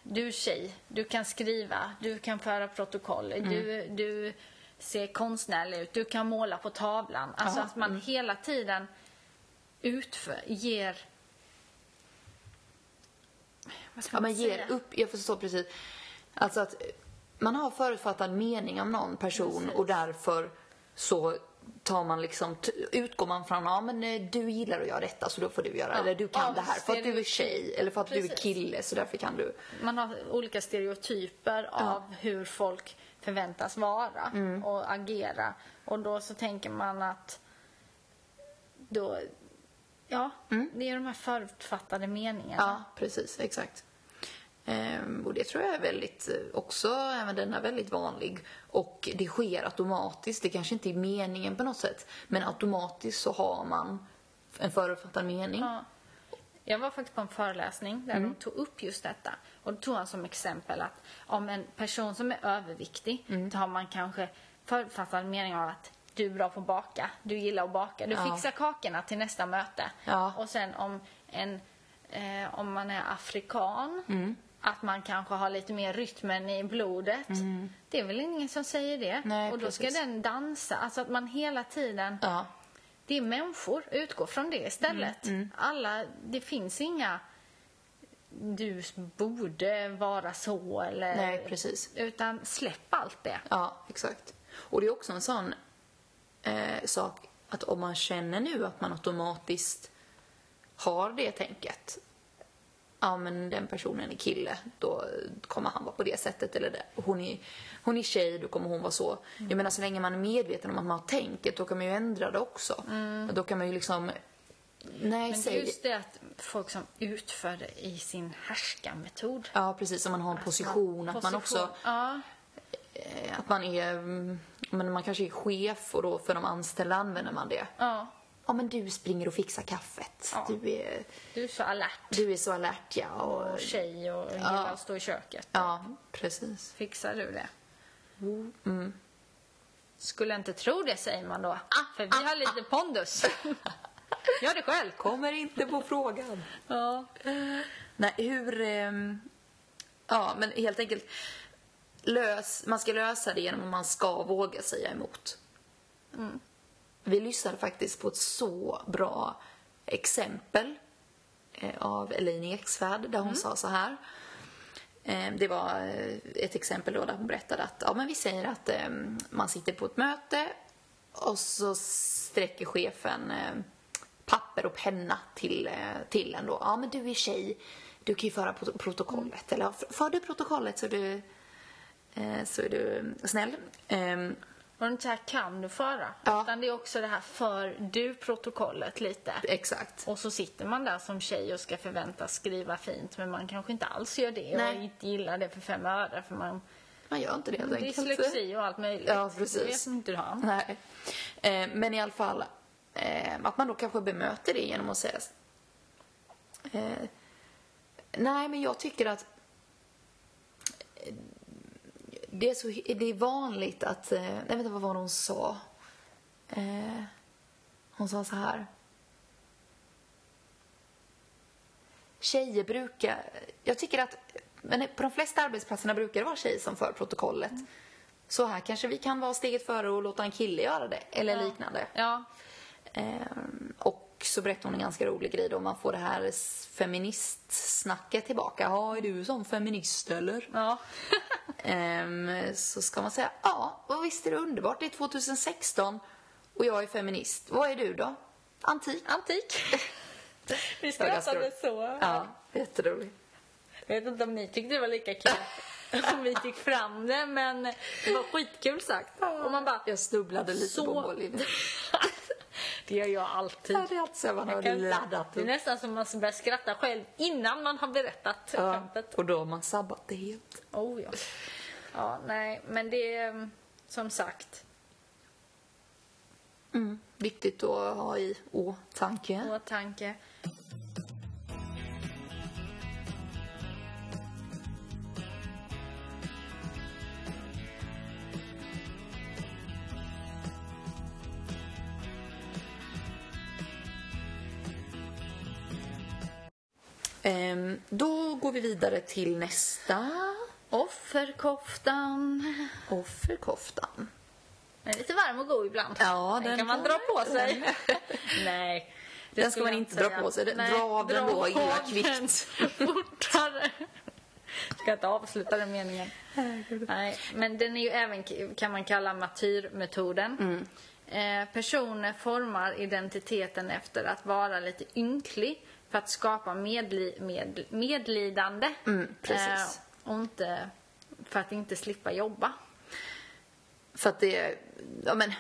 S1: du tjej, du kan skriva, du kan föra protokoll,
S2: Mm.
S1: du, du ser konstnärlig ut, du kan måla på tavlan. Alltså
S2: Ja, Mm.
S1: att man hela tiden utför, ger... Vad ska
S2: Ja,
S1: man
S2: man ger
S1: säga?
S2: upp. Jag förstår precis. Alltså att man har förutfattad mening om någon person
S1: Precis.
S2: och därför så tar man liksom, t- utgår man från, ja men eh, du gillar att göra detta så då får du göra det.
S1: Ja.
S2: Eller du kan
S1: Ja,
S2: det här för att du är
S1: stereotyp.
S2: tjej eller för att du är
S1: Precis.
S2: kille så därför kan du.
S1: man har olika stereotyper av hur folk förväntas vara och agera. Och då så tänker man att då, ja, det är de här förutfattade meningarna.
S2: Ja, precis. Exakt. Ehm, och det tror jag är väldigt, eh, också, även den är väldigt vanlig. Och det sker automatiskt. Det kanske inte är meningen på något sätt. Men automatiskt så har man en förutfattad mening.
S1: Ja. Jag var faktiskt på en föreläsning
S2: Mm.
S1: där de tog upp just detta. Och då tog han som exempel att om en person som är överviktig,
S2: Mm.
S1: då har man kanske förutfattad mening av att du är bra på att baka, du gillar att baka, du
S2: Ja.
S1: fixar kakorna till nästa möte.
S2: Ja.
S1: Och sen om, en, eh, om man är afrikan,
S2: Mm.
S1: att man kanske har lite mer rytmen i blodet. Det är väl ingen som säger det.
S2: Mm. Nej,
S1: och då
S2: precis.
S1: ska den dansa. Alltså att man hela tiden
S2: Ja. Mm,
S1: det är människor. Utgå från det istället. Alla, det finns inga du borde vara så eller...
S2: Nej, precis.
S1: Utan släpp allt det.
S2: Ja, exakt. Och det är också en sån eh, sak att om man känner nu att man automatiskt har det tänket. Ja, men den personen är kille, då kommer han vara på det sättet. Eller det. Hon, är, hon är tjej, då kommer hon vara så.
S1: Mm.
S2: Jag menar, så länge man är medveten om att man har tänket, då kan man ju ändra det också. Då kan man ju liksom... Nej,
S1: Mm. Men det
S2: säg...
S1: är just det att folk som utför det i sin härskarmetod.
S2: Ja, precis. Om man har en position, att man också...
S1: Position. Ja,
S2: eh, att man är, mm, men man kanske är chef och då för de anställda använder man det.
S1: ja.
S2: ja men du springer och fixar kaffet.
S1: Ja.
S2: Du, är,
S1: Du är så alert.
S2: du är så alert ja. Och,
S1: Och tjej och gillar att stå i köket.
S2: ja, precis.
S1: Fixar du det?
S2: Mm.
S1: Mm. Skulle inte tro det säger man då.
S2: Ah,
S1: För vi har lite pondus. Gör det själv.
S2: Kommer inte på frågan.
S1: Ja.
S2: Nej, hur... ehm, ja, men helt enkelt. Lös, man ska lösa det genom att man ska våga säga emot. Vi lyssnade faktiskt på ett så bra exempel eh, av Elaine Eksvärd där hon sa så här. Eh, Det var eh, ett exempel då där hon berättade att ja, men vi säger att eh, man sitter på ett möte och så sträcker chefen eh, papper och penna till, eh, till en då. Ja, men du är tjej. Du kan ju föra prot- protokollet. Eller "F- för du protokollet så är du, eh, så är du snäll. Ehm,
S1: Och inte så här kan du föra.
S2: Ja.
S1: Utan det är också det här för du protokollet lite.
S2: Exakt.
S1: Och så sitter man där som tjej och ska förväntas skriva fint men man kanske inte alls gör det
S2: Nej.
S1: och inte gillar det för fem öre för man
S2: Man gör inte det helt enkelt.
S1: dyslexi och allt möjligt.
S2: Ja, precis.
S1: Det vet inte han.
S2: Nej. Eh, men i alla fall, eh, att man då kanske bemöter det genom att säga eh, Nej, men jag tycker att eh, det är, så, det är vanligt att... Eh, nej, vänta, vad var det hon sa? Eh, hon sa så här. Tjejer brukar... Jag tycker att... Men på de flesta arbetsplatserna brukar det vara tjejer som för protokollet.
S1: Mm.
S2: Så här kanske vi kan vara steget före och låta en kille göra det. Eller liknande.
S1: Ja.
S2: Ehm, och så berättade hon en ganska rolig grej då. Man får det här s- feministsnacket tillbaka. Ja, är du som feminist eller?
S1: Ja.
S2: Ehm, så ska man säga ja, och visst är det underbart. Det är 2016 och jag är feminist. Vad är du då? Antik. Antik.
S1: Vi
S2: var ganska
S1: skrattade
S2: roligt.
S1: så.
S2: ja, jätteroligt.
S1: Jag vet inte om ni tyckte det var lika kul om vi fick fram det, men det var skitkul sagt. Och man bara...
S2: Jag snubblade lite på
S1: så...
S2: mållinjen.
S1: det gör jag alltid.
S2: Ja, det är alltid så här, man har
S1: Jag kan-
S2: laddat
S1: det är
S2: upp.
S1: nästan som man börjar skratta själv innan man har berättat
S2: Ja,
S1: skämtet.
S2: och då har man sabbat det helt.
S1: Oh ja. Ja, nej, men det är mm, som sagt
S2: Mm. Viktigt att ha i åtanke.
S1: åtanke.
S2: Ehm, då går vi vidare till nästa.
S1: Offerkoftan.
S2: Offerkoftan.
S1: Den är lite varm och god ibland.
S2: Ja,
S1: den,
S2: den
S1: kan man
S2: kan-
S1: dra på sig. nej. det
S2: Den ska
S1: skulle
S2: man
S1: jag
S2: inte dra
S1: säga.
S2: på sig. Den- dra av den då,
S1: av
S2: illa
S1: den
S2: kvickt.
S1: Fortare. Ska inte avsluta den meningen. Nej, men den är ju även, kan man kalla martyrmetoden.
S2: Mm.
S1: Eh, personer formar identiteten efter att vara lite ynklig för att skapa medli, med, medlidande.
S2: Mm, precis.
S1: Eh, och inte, för att inte slippa jobba.
S2: För att det, ja men,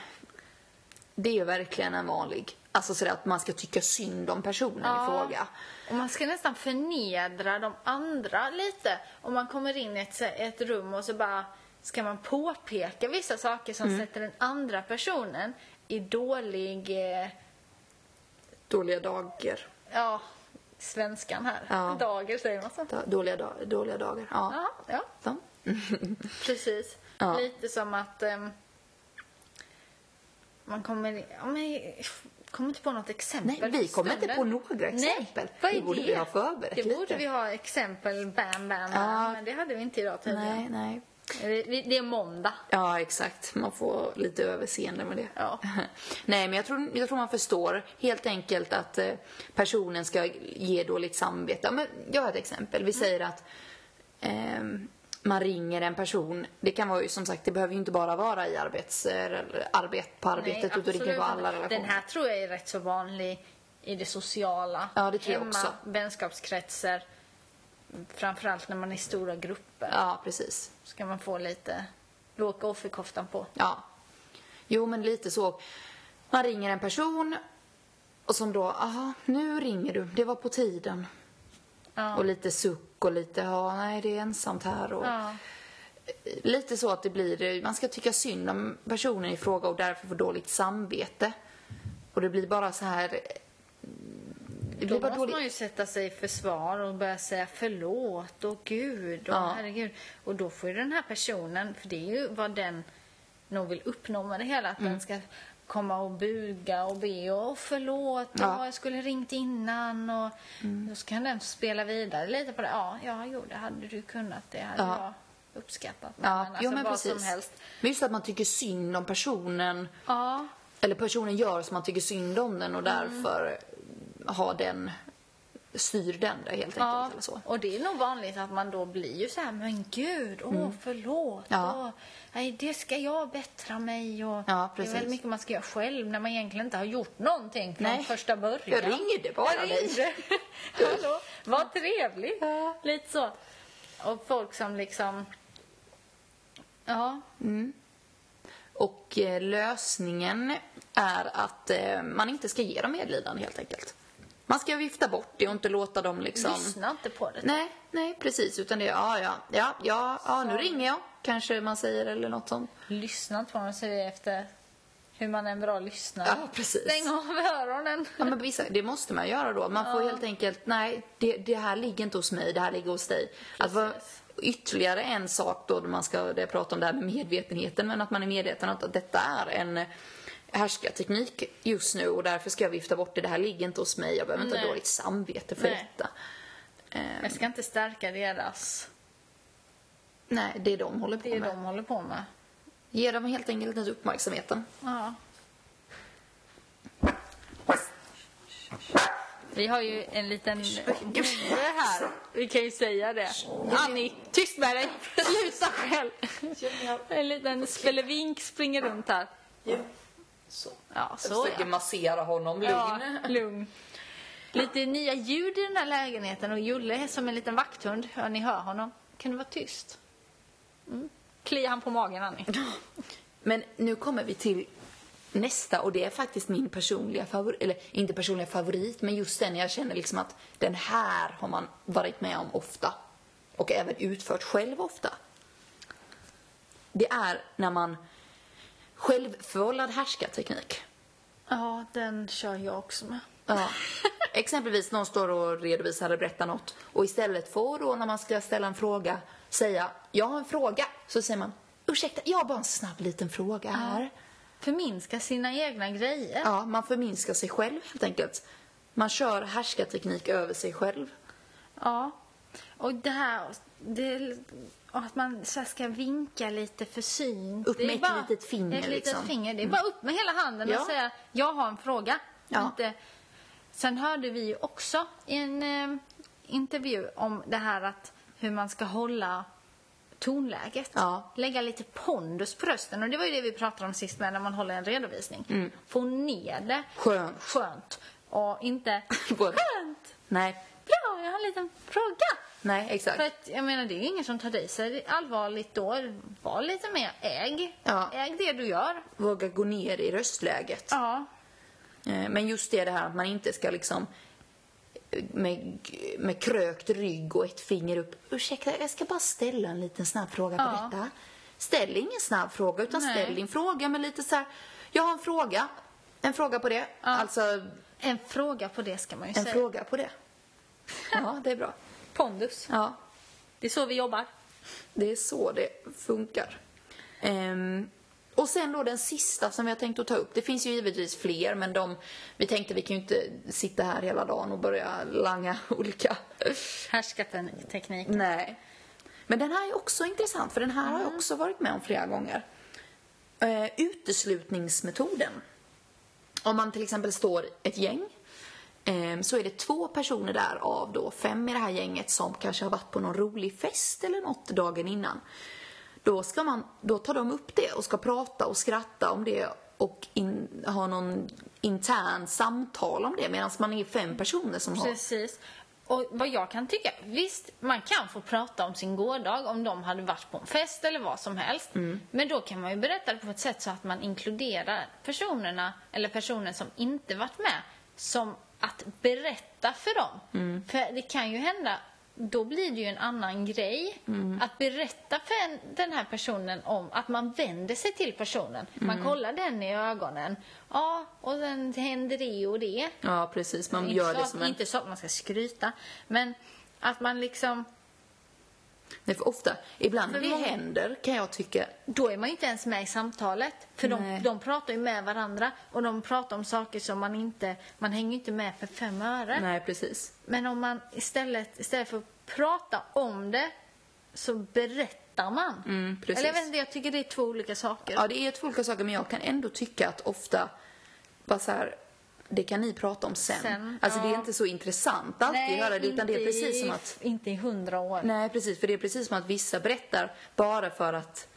S2: det är ju verkligen en vanlig. Alltså sådär att man ska tycka synd om personen i fråga.
S1: Och man ska nästan förnedra de andra lite. Om man kommer in i ett, så- ett rum och så bara ska man påpeka vissa saker som
S2: Mm.
S1: sätter den andra personen i dålig, eh,
S2: Dåliga dagar.
S1: ja, svenskan här.
S2: Ja.
S1: Dager säger man så.
S2: Da, dåliga, da, dåliga dagar. Ja.
S1: Ja, ja
S2: ja.
S1: precis.
S2: Ja.
S1: Lite som att ehm, man kommer, ja, men, jag kommer inte på något exempel.
S2: Nej, vi
S1: för
S2: kommer inte
S1: stunden.
S2: på några exempel.
S1: Nej, vad är
S2: Det borde vi ha förberett
S1: Det borde
S2: lite.
S1: vi ha exempel, bam, bam, bam.
S2: Ja.
S1: Men det hade vi inte idag tydligen.
S2: Nej, nej.
S1: Det- vi- Det är måndag.
S2: Ja, exakt. Man får lite överseende med det.
S1: Ja.
S2: Nej, men jag tror, jag tror man förstår helt enkelt att eh, personen ska ge dåligt samvete. Ja, Men jag har ett exempel. Vi säger att ehm, man ringer en person. Det kan vara ju som sagt, det behöver ju inte bara vara i arbets, eller arbet, på arbetet
S1: Nej,
S2: utan det kan
S1: absolut
S2: vara
S1: inte.
S2: alla relationer.
S1: Den här tror jag är rätt så vanlig i det sociala.
S2: Ja, det tror jag
S1: Hemma,
S2: också.
S1: vänskapskretsar. Framförallt när man är i stora grupper.
S2: Ja, precis.
S1: Ska man få lite... Då åker offerkoftan på.
S2: Ja. Jo, men lite så. Man ringer en person och som då, aha, nu ringer du. Det var på tiden.
S1: Ja.
S2: Och lite suck och lite, ja, nej, det är ensamt här. Och
S1: Ja.
S2: Lite så att det blir, man ska tycka synd om personen i fråga och därför få dåligt samvete. Och det blir bara så här... Det
S1: Då
S2: blir
S1: måste
S2: bara dåligt.
S1: man ju sätta sig i försvar och börja säga förlåt och gud och
S2: Ja.
S1: herregud. Och då får ju den här personen, för det är ju vad den nog vill uppnå med det hela, att
S2: Mm.
S1: den ska komma och buga och be och förlåt
S2: Ja. Mm.
S1: och jag skulle ringt innan och då ska den spela vidare lite på det. Ja, ja, jo, det hade du kunnat, det hade
S2: Ja.
S1: jag uppskattat.
S2: Ja,
S1: alltså,
S2: jo, men
S1: vad
S2: precis.
S1: som helst.
S2: Men just att man tycker synd om personen.
S1: Ja,
S2: Eller personen gör som man tycker synd om den och
S1: Mm.
S2: därför har den, styr den det helt enkelt.
S1: Ja,
S2: Eller så.
S1: och det är nog vanligt att man då blir ju så här, men gud, åh förlåt,
S2: Mm. Ja.
S1: åh, nej, det ska jag bättra mig och
S2: Ja,
S1: det är
S2: precis.
S1: väl mycket man ska göra själv när man egentligen inte har gjort någonting från
S2: Nej.
S1: första början.
S2: Jag ringde bara
S1: Jag
S2: dig.
S1: ringde. Hallå, vad trevligt. Lite så. Och folk som liksom, ja,
S2: Och eh, lösningen är att eh, man inte ska ge dem medlidande helt enkelt. Man ska vifta bort det och inte låta dem liksom...
S1: lyssna inte på det.
S2: Nej, nej precis. Utan det är ja, ja, ja, ja, ja nu
S1: Så.
S2: ringer jag. Kanske man säger eller något sånt.
S1: Lyssna inte på dem, säger jag efter hur man är en bra lyssnare.
S2: Ja, precis.
S1: Stäng av öronen.
S2: Ja, men vissa, det måste man göra då. Man får helt enkelt, nej, det, det här ligger inte hos mig, det här ligger hos dig. Att vara, ytterligare en sak då, då man ska det, prata om det här med medvetenheten, men att man är medveten om att detta är en härskarteknik just nu och därför ska jag vifta bort det, det här ligger inte hos mig, jag behöver inte ha
S1: Nej.
S2: dåligt samvete för
S1: Nej.
S2: detta. Eh,
S1: Jag ska inte stärka deras
S2: Nej, det är de håller på
S1: Det är
S2: med.
S1: de håller på med.
S2: Ge dem helt enkelt inte uppmärksamheten.
S1: Ja. Vi har ju en liten bonde här. Vi kan ju säga det. Annie, tyst med dig! Sluta själv! En liten spelevink springer runt här.
S2: Så.
S1: Ja, så ja.
S2: massera honom lugn.
S1: Ja, lugn. Lite nya ljud i den här lägenheten och Julle är som en liten vakthund. Ja, ni hör honom. Kan du vara tyst? Mm. Kliar han på magen, Annie?
S2: Men nu kommer vi till nästa och det är faktiskt min personliga favorit, eller inte personliga favorit, men just den jag känner liksom att den här har man varit med om ofta. Och även utfört själv ofta. Det är när man självförvållad härskarteknik.
S1: Ja, den kör jag också med.
S2: Ja. Exempelvis någon står och redovisar eller berättar något och istället får då när man ska ställa en fråga säga jag har en fråga. Så säger man ursäkta, jag har bara en snabb liten fråga här.
S1: förminska sina egna grejer.
S2: Ja, man förminskar sig själv helt enkelt. Man kör härskarteknik över sig själv.
S1: Ja. Och det här, det, och att man så här ska vinka lite försynt.
S2: Upp med
S1: Det är
S2: ett litet finger,
S1: Ett litet
S2: liksom.
S1: finger. Det är bara upp med hela handen
S2: Ja.
S1: och säga, jag har en fråga.
S2: Ja.
S1: Inte, sen hörde vi ju också i en eh, intervju om det här att hur man ska hålla tonläget.
S2: Ja.
S1: Lägga lite pondus på rösten. Och det var ju det vi pratade om sist med när man håller en redovisning. Få ner det.
S2: Mm. Skönt.
S1: Skönt. Och inte
S2: Både-
S1: skönt.
S2: Nej,
S1: Bra, jag har en liten fråga.
S2: nej exakt.
S1: För att, jag menar, det är ju ingen som tar dig så allvarligt då. Var lite mer äg.
S2: Ja.
S1: Äg det du gör.
S2: Våga gå ner i röstläget.
S1: Ja.
S2: Eh, Men just det, det här att man inte ska liksom eh, med, med krökt rygg och ett finger upp. Ursäkta, jag ska bara ställa en liten snabb fråga på
S1: Ja.
S2: detta. Ställ ingen snabb fråga, utan
S1: Nej.
S2: ställ din fråga med lite så här. Jag har en fråga. En fråga på det. Alltså, en
S1: En fråga på det ska man ju säga.
S2: fråga på det. Ja, det är bra.
S1: Pondus.
S2: Ja,
S1: Det är så vi jobbar.
S2: Det är så det funkar. Ehm, och sen då den sista som jag tänkte att ta upp. Det finns ju givetvis fler men de, vi tänkte vi kan ju inte sitta här hela dagen och börja langa olika.
S1: Härskarteknik.
S2: Nej. Mm. Men den här är också intressant för den här har jag också varit med om flera gånger. Eh, uteslutningsmetoden. Om man till exempel står ett gäng ehm, så är det två personer där av då fem i det här gänget som kanske har varit på någon rolig fest eller något dagen innan. Då, ska man, då tar de upp det och ska prata och skratta om det och in, ha någon intern samtal om det medan man är fem personer som har...
S1: Precis. Och vad jag kan tycka, visst man kan få prata om sin gårdag om de hade varit på en fest eller vad som helst.
S2: Mm.
S1: Men då kan man ju berätta det på ett sätt så att man inkluderar personerna, eller personen som
S2: Mm.
S1: inte varit med, som att berätta för dem. För det kan ju hända då blir det ju en annan grej.
S2: Mm.
S1: Att berätta för en, den här personen om att man vänder sig till personen.
S2: Mm.
S1: Man kollar den i ögonen. Ja, och sen händer det och det.
S2: Ja, precis. Man
S1: inte,
S2: gör
S1: så
S2: det
S1: att,
S2: som en...
S1: inte så att man ska skryta, men att man liksom...
S2: Nej, för ofta, ibland
S1: För
S2: det
S1: många-
S2: händer kan jag tycka.
S1: Då är man ju inte ens med i samtalet. För de,
S2: Nej.
S1: de pratar ju med varandra och de pratar om saker som man inte... Man hänger ju inte med för fem öre.
S2: Nej, precis.
S1: Men om man istället, istället för att prata om det så berättar man.
S2: Mm, precis.
S1: Eller jag vet inte, jag tycker det är två olika saker.
S2: Ja, det är två olika saker men jag kan ändå tycka att ofta bara så här, det kan ni prata om sen.
S1: Sen,
S2: alltså det
S1: ja.
S2: är inte så intressant alltid att höra det utan det är
S1: inte
S2: precis
S1: i-
S2: som att
S1: Inte i hundra år.
S2: Nej, precis. För det är precis som att vissa berättar bara för att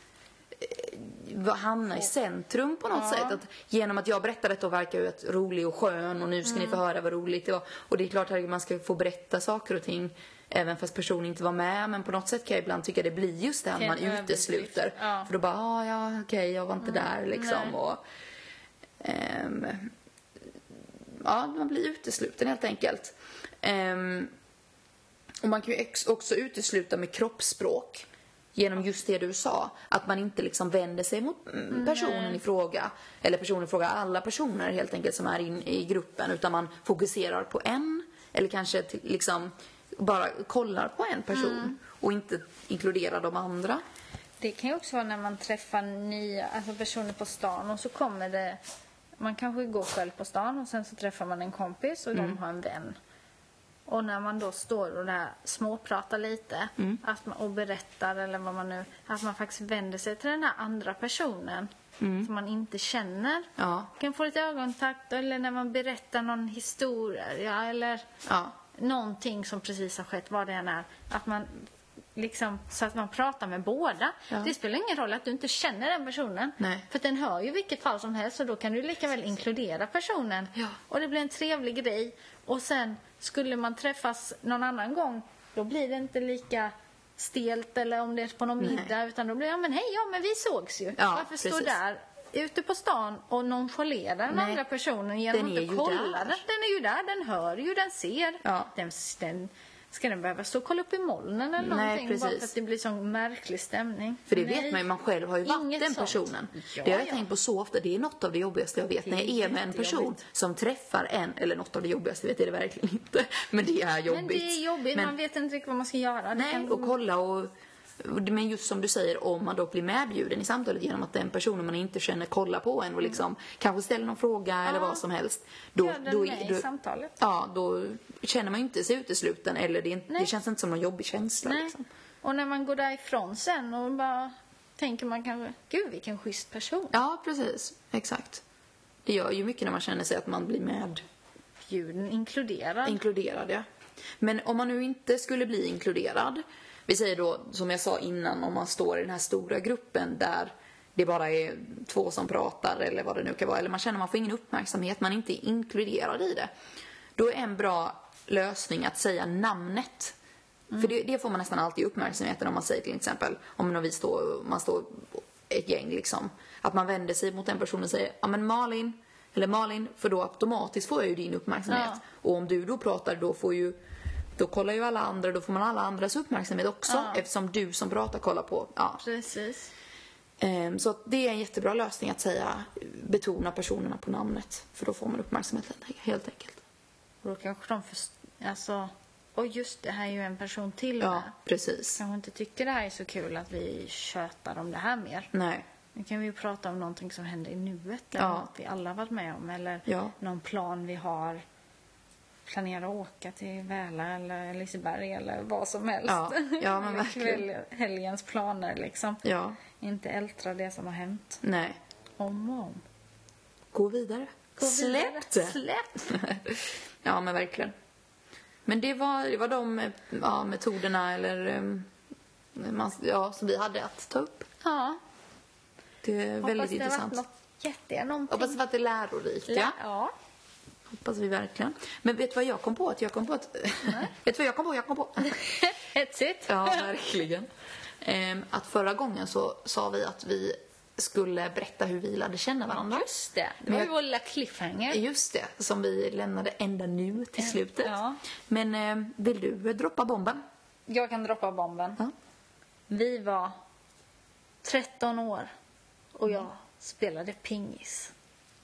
S2: eh, hamna i centrum på något sätt. Att genom att jag berättar detta och verkar ju att rolig och skön och nu ska
S1: Mm.
S2: ni få höra vad roligt det var. Och det är klart att man ska få berätta saker och ting även fast personen inte var med. Men på något sätt kan jag ibland tycka det blir just det här
S1: Till
S2: man
S1: en överdrift.
S2: utesluter.
S1: Ja. Mm.
S2: För då bara, ah, ja okej, jag var inte där liksom.
S1: nej.
S2: Och, ehm, ja, man blir utesluten helt enkelt. Ehm, och man kan ju ex- också utesluta med kroppsspråk. Genom just det du sa. Att man inte liksom vänder sig mot mm, personen i fråga. Eller personen i fråga, alla personer helt enkelt som är in, i gruppen. Utan man fokuserar på en. Eller kanske till, liksom bara kollar på en person.
S1: Mm.
S2: Och inte inkluderar de andra.
S1: Det kan ju också vara när man träffar nya alltså personer på stan och så kommer det... Man kanske går själv på stan och sen så träffar man en kompis och
S2: Mm.
S1: de har en vän. Och när man då står och där småpratar lite
S2: Mm.
S1: att man, och berättar eller vad man nu... Att man faktiskt vänder sig till den här andra personen som man inte känner.
S2: Mm. Ja.
S1: kan få lite ögonkontakt eller när man berättar någon historia eller
S2: Ja.
S1: någonting som precis har skett, vad det än är. Att man liksom, så att man pratar med båda.
S2: Ja.
S1: Det spelar ingen roll att du inte känner den personen.
S2: Nej.
S1: För den hör ju i vilket fall som helst och då kan du lika väl inkludera personen.
S2: Ja.
S1: Och det blir en trevlig grej. Och sen skulle man träffas någon annan gång, då blir det inte lika stelt eller om det är på någon
S2: Nej.
S1: middag utan då blir det, ja men hej, ja men vi sågs ju.
S2: Ja,
S1: Varför stå
S2: precis.
S1: där ute på stan och nonchalera den
S2: Nej.
S1: andra personen genom
S2: Den
S1: att
S2: är
S1: inte
S2: ju
S1: kolla
S2: där.
S1: den? Den är ju där, den hör ju, den ser.
S2: Ja.
S1: Den, den, ska den behöva stå och kolla upp i molnen eller
S2: Nej,
S1: någonting bara
S2: precis.
S1: för att det blir sån märklig stämning?
S2: För det
S1: Nej.
S2: vet man ju, man själv har ju varit
S1: Inget
S2: den
S1: sånt.
S2: personen.
S1: Ja,
S2: det har jag
S1: ja.
S2: tänkt på så ofta, det är något av det jobbigaste jag vet. När jag
S1: Det är
S2: är med en person
S1: jättejobbigt.
S2: som träffar en, eller något av det jobbigaste vet jag det verkligen inte. Men det är jobbigt.
S1: Men det är jobbigt,
S2: Men-
S1: man vet inte riktigt vad man ska göra. Det
S2: Nej,
S1: kan-
S2: och kolla och... Men just som du säger, om man då blir medbjuden i samtalet genom att den personen man inte känner kollar på en och
S1: Mm.
S2: liksom kanske ställer någon fråga eller vad som helst. Då,
S1: Gör den
S2: då,
S1: med i
S2: då,
S1: samtalet.
S2: ja, då känner man ju inte sig utesluten eller det, är inte- det
S1: Nej.
S2: känns inte som någon jobbig känsla.
S1: Nej.
S2: Liksom.
S1: Och när man går därifrån sen och bara tänker man kanske, gud vilken schysst person.
S2: Ja, precis. Exakt. Det gör ju mycket när man känner sig att man blir med
S1: Ljuden inkluderar.
S2: inkluderad. Ja. Men om man nu inte skulle bli inkluderad. Vi säger då, som jag sa innan, om man står i den här stora gruppen där det bara är två som pratar eller vad det nu kan vara. Eller man känner att man får ingen uppmärksamhet, man är inte inkluderad i det. Då är en bra lösning att säga namnet. För det, det får man nästan alltid uppmärksamheten om man säger till exempel, om när vi står, man står ett gäng liksom. Att man vänder sig mot den personen och säger, ja men Malin, eller Malin, för då automatiskt får jag ju din uppmärksamhet.
S1: Ja.
S2: Och om du då pratar då får ju då kollar ju alla andra, då får man alla andras uppmärksamhet också eftersom du som pratar kollar på. Ja.
S1: Precis.
S2: Ehm, Så att det är en jättebra lösning att säga betona personerna på namnet för då får man uppmärksamhet helt- helt enkelt.
S1: Och då kanske de först... Alltså... Och just det, här är ju en person till
S2: Ja,
S1: med.
S2: precis.
S1: Kanske inte tycker det här är så kul att vi tjötar om det här mer.
S2: Nej.
S1: Nu kan vi ju prata om någonting som händer i nuet. Eller
S2: Ja.
S1: något vi alla varit med om. Eller
S2: Ja.
S1: någon plan vi har. Planera att åka till Väla eller Liseberg eller vad som helst.
S2: Ja, ja, men
S1: Eller
S2: verkligen.
S1: kväll- helgens planer liksom.
S2: Ja.
S1: Inte ältra det som har hänt.
S2: Nej.
S1: Om och om.
S2: Gå vidare.
S1: Gå vidare.
S2: Släpp det.
S1: Släpp!
S2: ja, men verkligen. Men det var, det var de eh, ja, metoderna eller ehm, man, ja, som vi hade att ta upp.
S1: Ja.
S2: Det är väldigt
S1: Hoppas det har
S2: intressant.
S1: varit något jätte, någonting.
S2: Hoppas det varit lärorikt. Ja.
S1: ja.
S2: Hoppas vi verkligen. Men vet du vad jag kom på? Att jag kom på att... vet du vad jag kom på? Jag kom på...
S1: Hetsigt.
S2: ja, verkligen. Ehm, att förra gången så sa vi att vi skulle berätta hur vi lärde känna varandra.
S1: Just det. Det
S2: Men
S1: var
S2: jag-
S1: ju vår lilla cliffhanger.
S2: Just det, som vi lämnade ända nu till slutet.
S1: Ja.
S2: Men ehm, vill du eh, droppa bomben?
S1: Jag kan droppa bomben.
S2: Ja.
S1: Vi var 13 år och jag spelade pingis.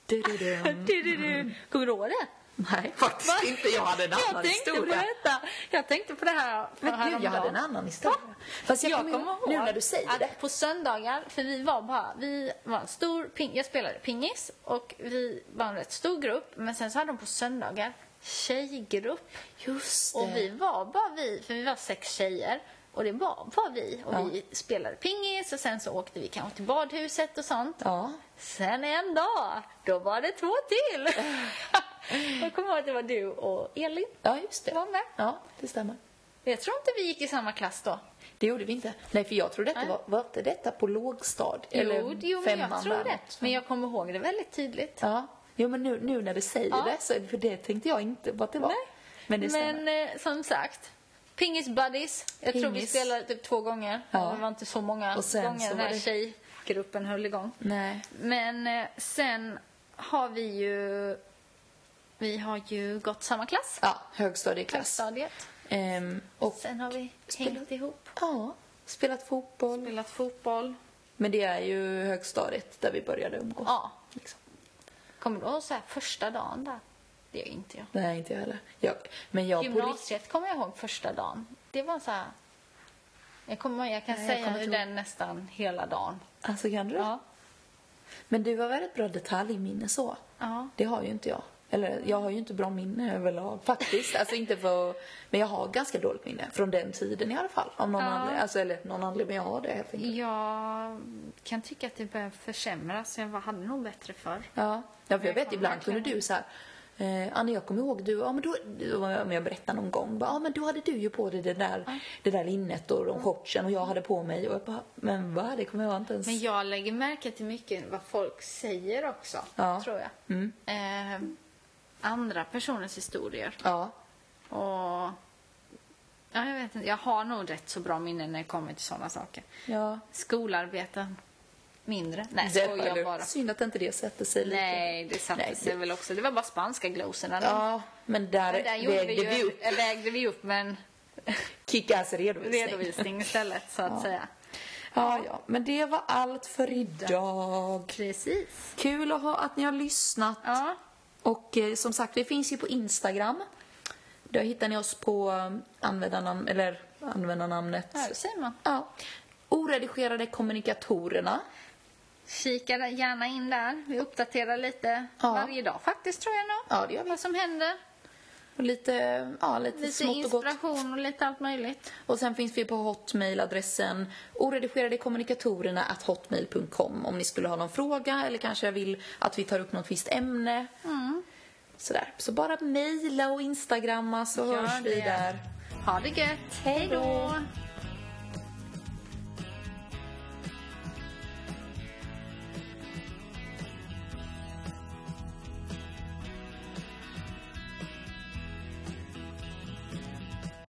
S2: Du-du-dum.
S1: Du, du, du. Kommer du ihåg det?
S2: Nej, faktiskt
S1: Va?
S2: inte. Jag hade en annan
S1: Jag tänkte på
S2: historia.
S1: detta. Jag tänkte på det här för
S2: Men nu, jag
S1: häromdagen.
S2: hade en annan historia. Fast jag,
S1: jag
S2: kommer ihåg nu när du säger
S1: att
S2: det.
S1: på söndagar, för vi var bara, vi var en stor ping, jag spelade pingis och vi var en rätt stor grupp, men sen så hade de på söndagar tjejgrupp.
S2: Just
S1: Och vi var bara vi, för vi var sex tjejer. Och det var bara vi. Och
S2: Ja.
S1: vi spelade pingis och sen så åkte vi kanske till badhuset och sånt.
S2: Ja.
S1: Sen en dag, då var det två till. jag kommer ihåg att det var du och Elin
S2: ja, just
S1: som var
S2: det.
S1: med.
S2: Ja, det stämmer.
S1: Jag tror inte vi gick i samma klass då.
S2: Det gjorde vi inte. Nej, för jag trodde att det
S1: Nej.
S2: var, var inte detta på lågstad? Eller
S1: jo, jo men
S2: femman
S1: jag tror det.
S2: där något sånt.
S1: Men jag kommer ihåg det väldigt tydligt.
S2: Ja. Jo, men nu, nu när du säger
S1: Ja.
S2: det, så, för det tänkte jag inte vad det var.
S1: Nej.
S2: Men det stämmer.
S1: Men eh, som sagt, Pingis Buddies. Jag tror vi
S2: Pingis.
S1: spelade typ två gånger.
S2: Ja.
S1: Det var inte så många
S2: Och sen
S1: gånger
S2: så
S1: den
S2: var
S1: här
S2: det-
S1: tjejgruppen höll igång.
S2: Nej.
S1: Men eh, sen har vi ju... Vi har ju gått samma klass.
S2: Ja, högstadieklass.
S1: Högstadiet.
S2: Ehm, och
S1: Sen har vi
S2: Spelat-
S1: hängt ihop.
S2: ja, spelat fotboll.
S1: Spelat fotboll.
S2: Men det är ju högstadiet där vi började umgås.
S1: Ja.
S2: Liksom.
S1: Kommer du ihåg så här första dagen där? Det gör inte jag.
S2: Nej, inte jag heller. Jag, men jag på rikt-
S1: Gymnasiet kommer jag ihåg första dagen. Det var så här... Jag, kommer, jag kan
S2: Nej, jag
S1: säga
S2: kommer
S1: nu
S2: inte ihåg.
S1: den nästan hela dagen.
S2: Alltså, kan du det?
S1: Ja.
S2: Men du har väldigt bra detaljminne så.
S1: Ja.
S2: Det har ju inte jag. Eller jag har ju inte bra minne överlag faktiskt. Alltså inte för Men jag har ganska dåligt minne. Från den tiden i alla fall. Om någon
S1: Ja. Mm.
S2: anledning. Alltså eller någon anledning. Men jag har det helt enkelt.
S1: Jag kan tycka att det börjar försämras. Jag var- hade nog bättre förr.
S2: Ja. ja för jag
S1: Jag
S2: vet
S1: kommer
S2: ibland kunde
S1: verkligen-
S2: du så här. Eh, Anna jag kommer ihåg du, ja men då, du- om jag berättar någon gång, bara, ja men då hade du ju på dig det där, det där linnet och
S1: Mm.
S2: de shortsen och jag hade på mig och jag bara, men va? Det kommer jag inte ens...
S1: Men jag lägger märke till mycket vad folk säger också,
S2: Ja. Mm.
S1: tror jag. Eh, andra personers historier.
S2: Ja.
S1: Och... Ja, jag vet inte. Jag har nog rätt så bra minnen när det kommer till sådana saker.
S2: Ja.
S1: Skolarbeten, mindre. Nej,
S2: Det
S1: skojar
S2: var-
S1: bara.
S2: Synd att inte det sätter sig lite.
S1: Nej, det satte
S2: Nej,
S1: sig
S2: det-
S1: väl också. Det var bara spanska glosorna.
S2: Ja, men där,
S1: Men där gjorde vi
S2: vägde
S1: ju, eh,
S2: vi upp
S1: vägde vi upp med en
S2: Kick-Ass redovisning.
S1: redovisning istället, så att säga.
S2: Ja, ja, men det var allt för idag.
S1: Precis.
S2: Kul att, ha, att ni har lyssnat.
S1: Ja.
S2: Och eh, som sagt, vi finns ju på Instagram. Där hittar ni oss på eh, användarnamn, eller användarnamnet.
S1: Ja, det säger man.
S2: Ja. Oredigerade kommunikatorerna.
S1: Kika gärna in där. Vi uppdaterar lite
S2: Ja.
S1: varje dag faktiskt, tror jag nog.
S2: Ja, det gör vi.
S1: Vad som händer.
S2: Och lite, ja, lite,
S1: Lite
S2: smått och gott.
S1: inspiration och lite allt möjligt.
S2: Och sen finns vi på hotmailadressen oredigerade at hotmail.com om ni skulle ha någon fråga eller kanske vill att vi tar upp något visst ämne.
S1: Mm.
S2: Sådär. Så bara mejla och instagramma så
S1: Gör
S2: hörs vi
S1: det.
S2: där.
S1: Ha det gött. Hej då.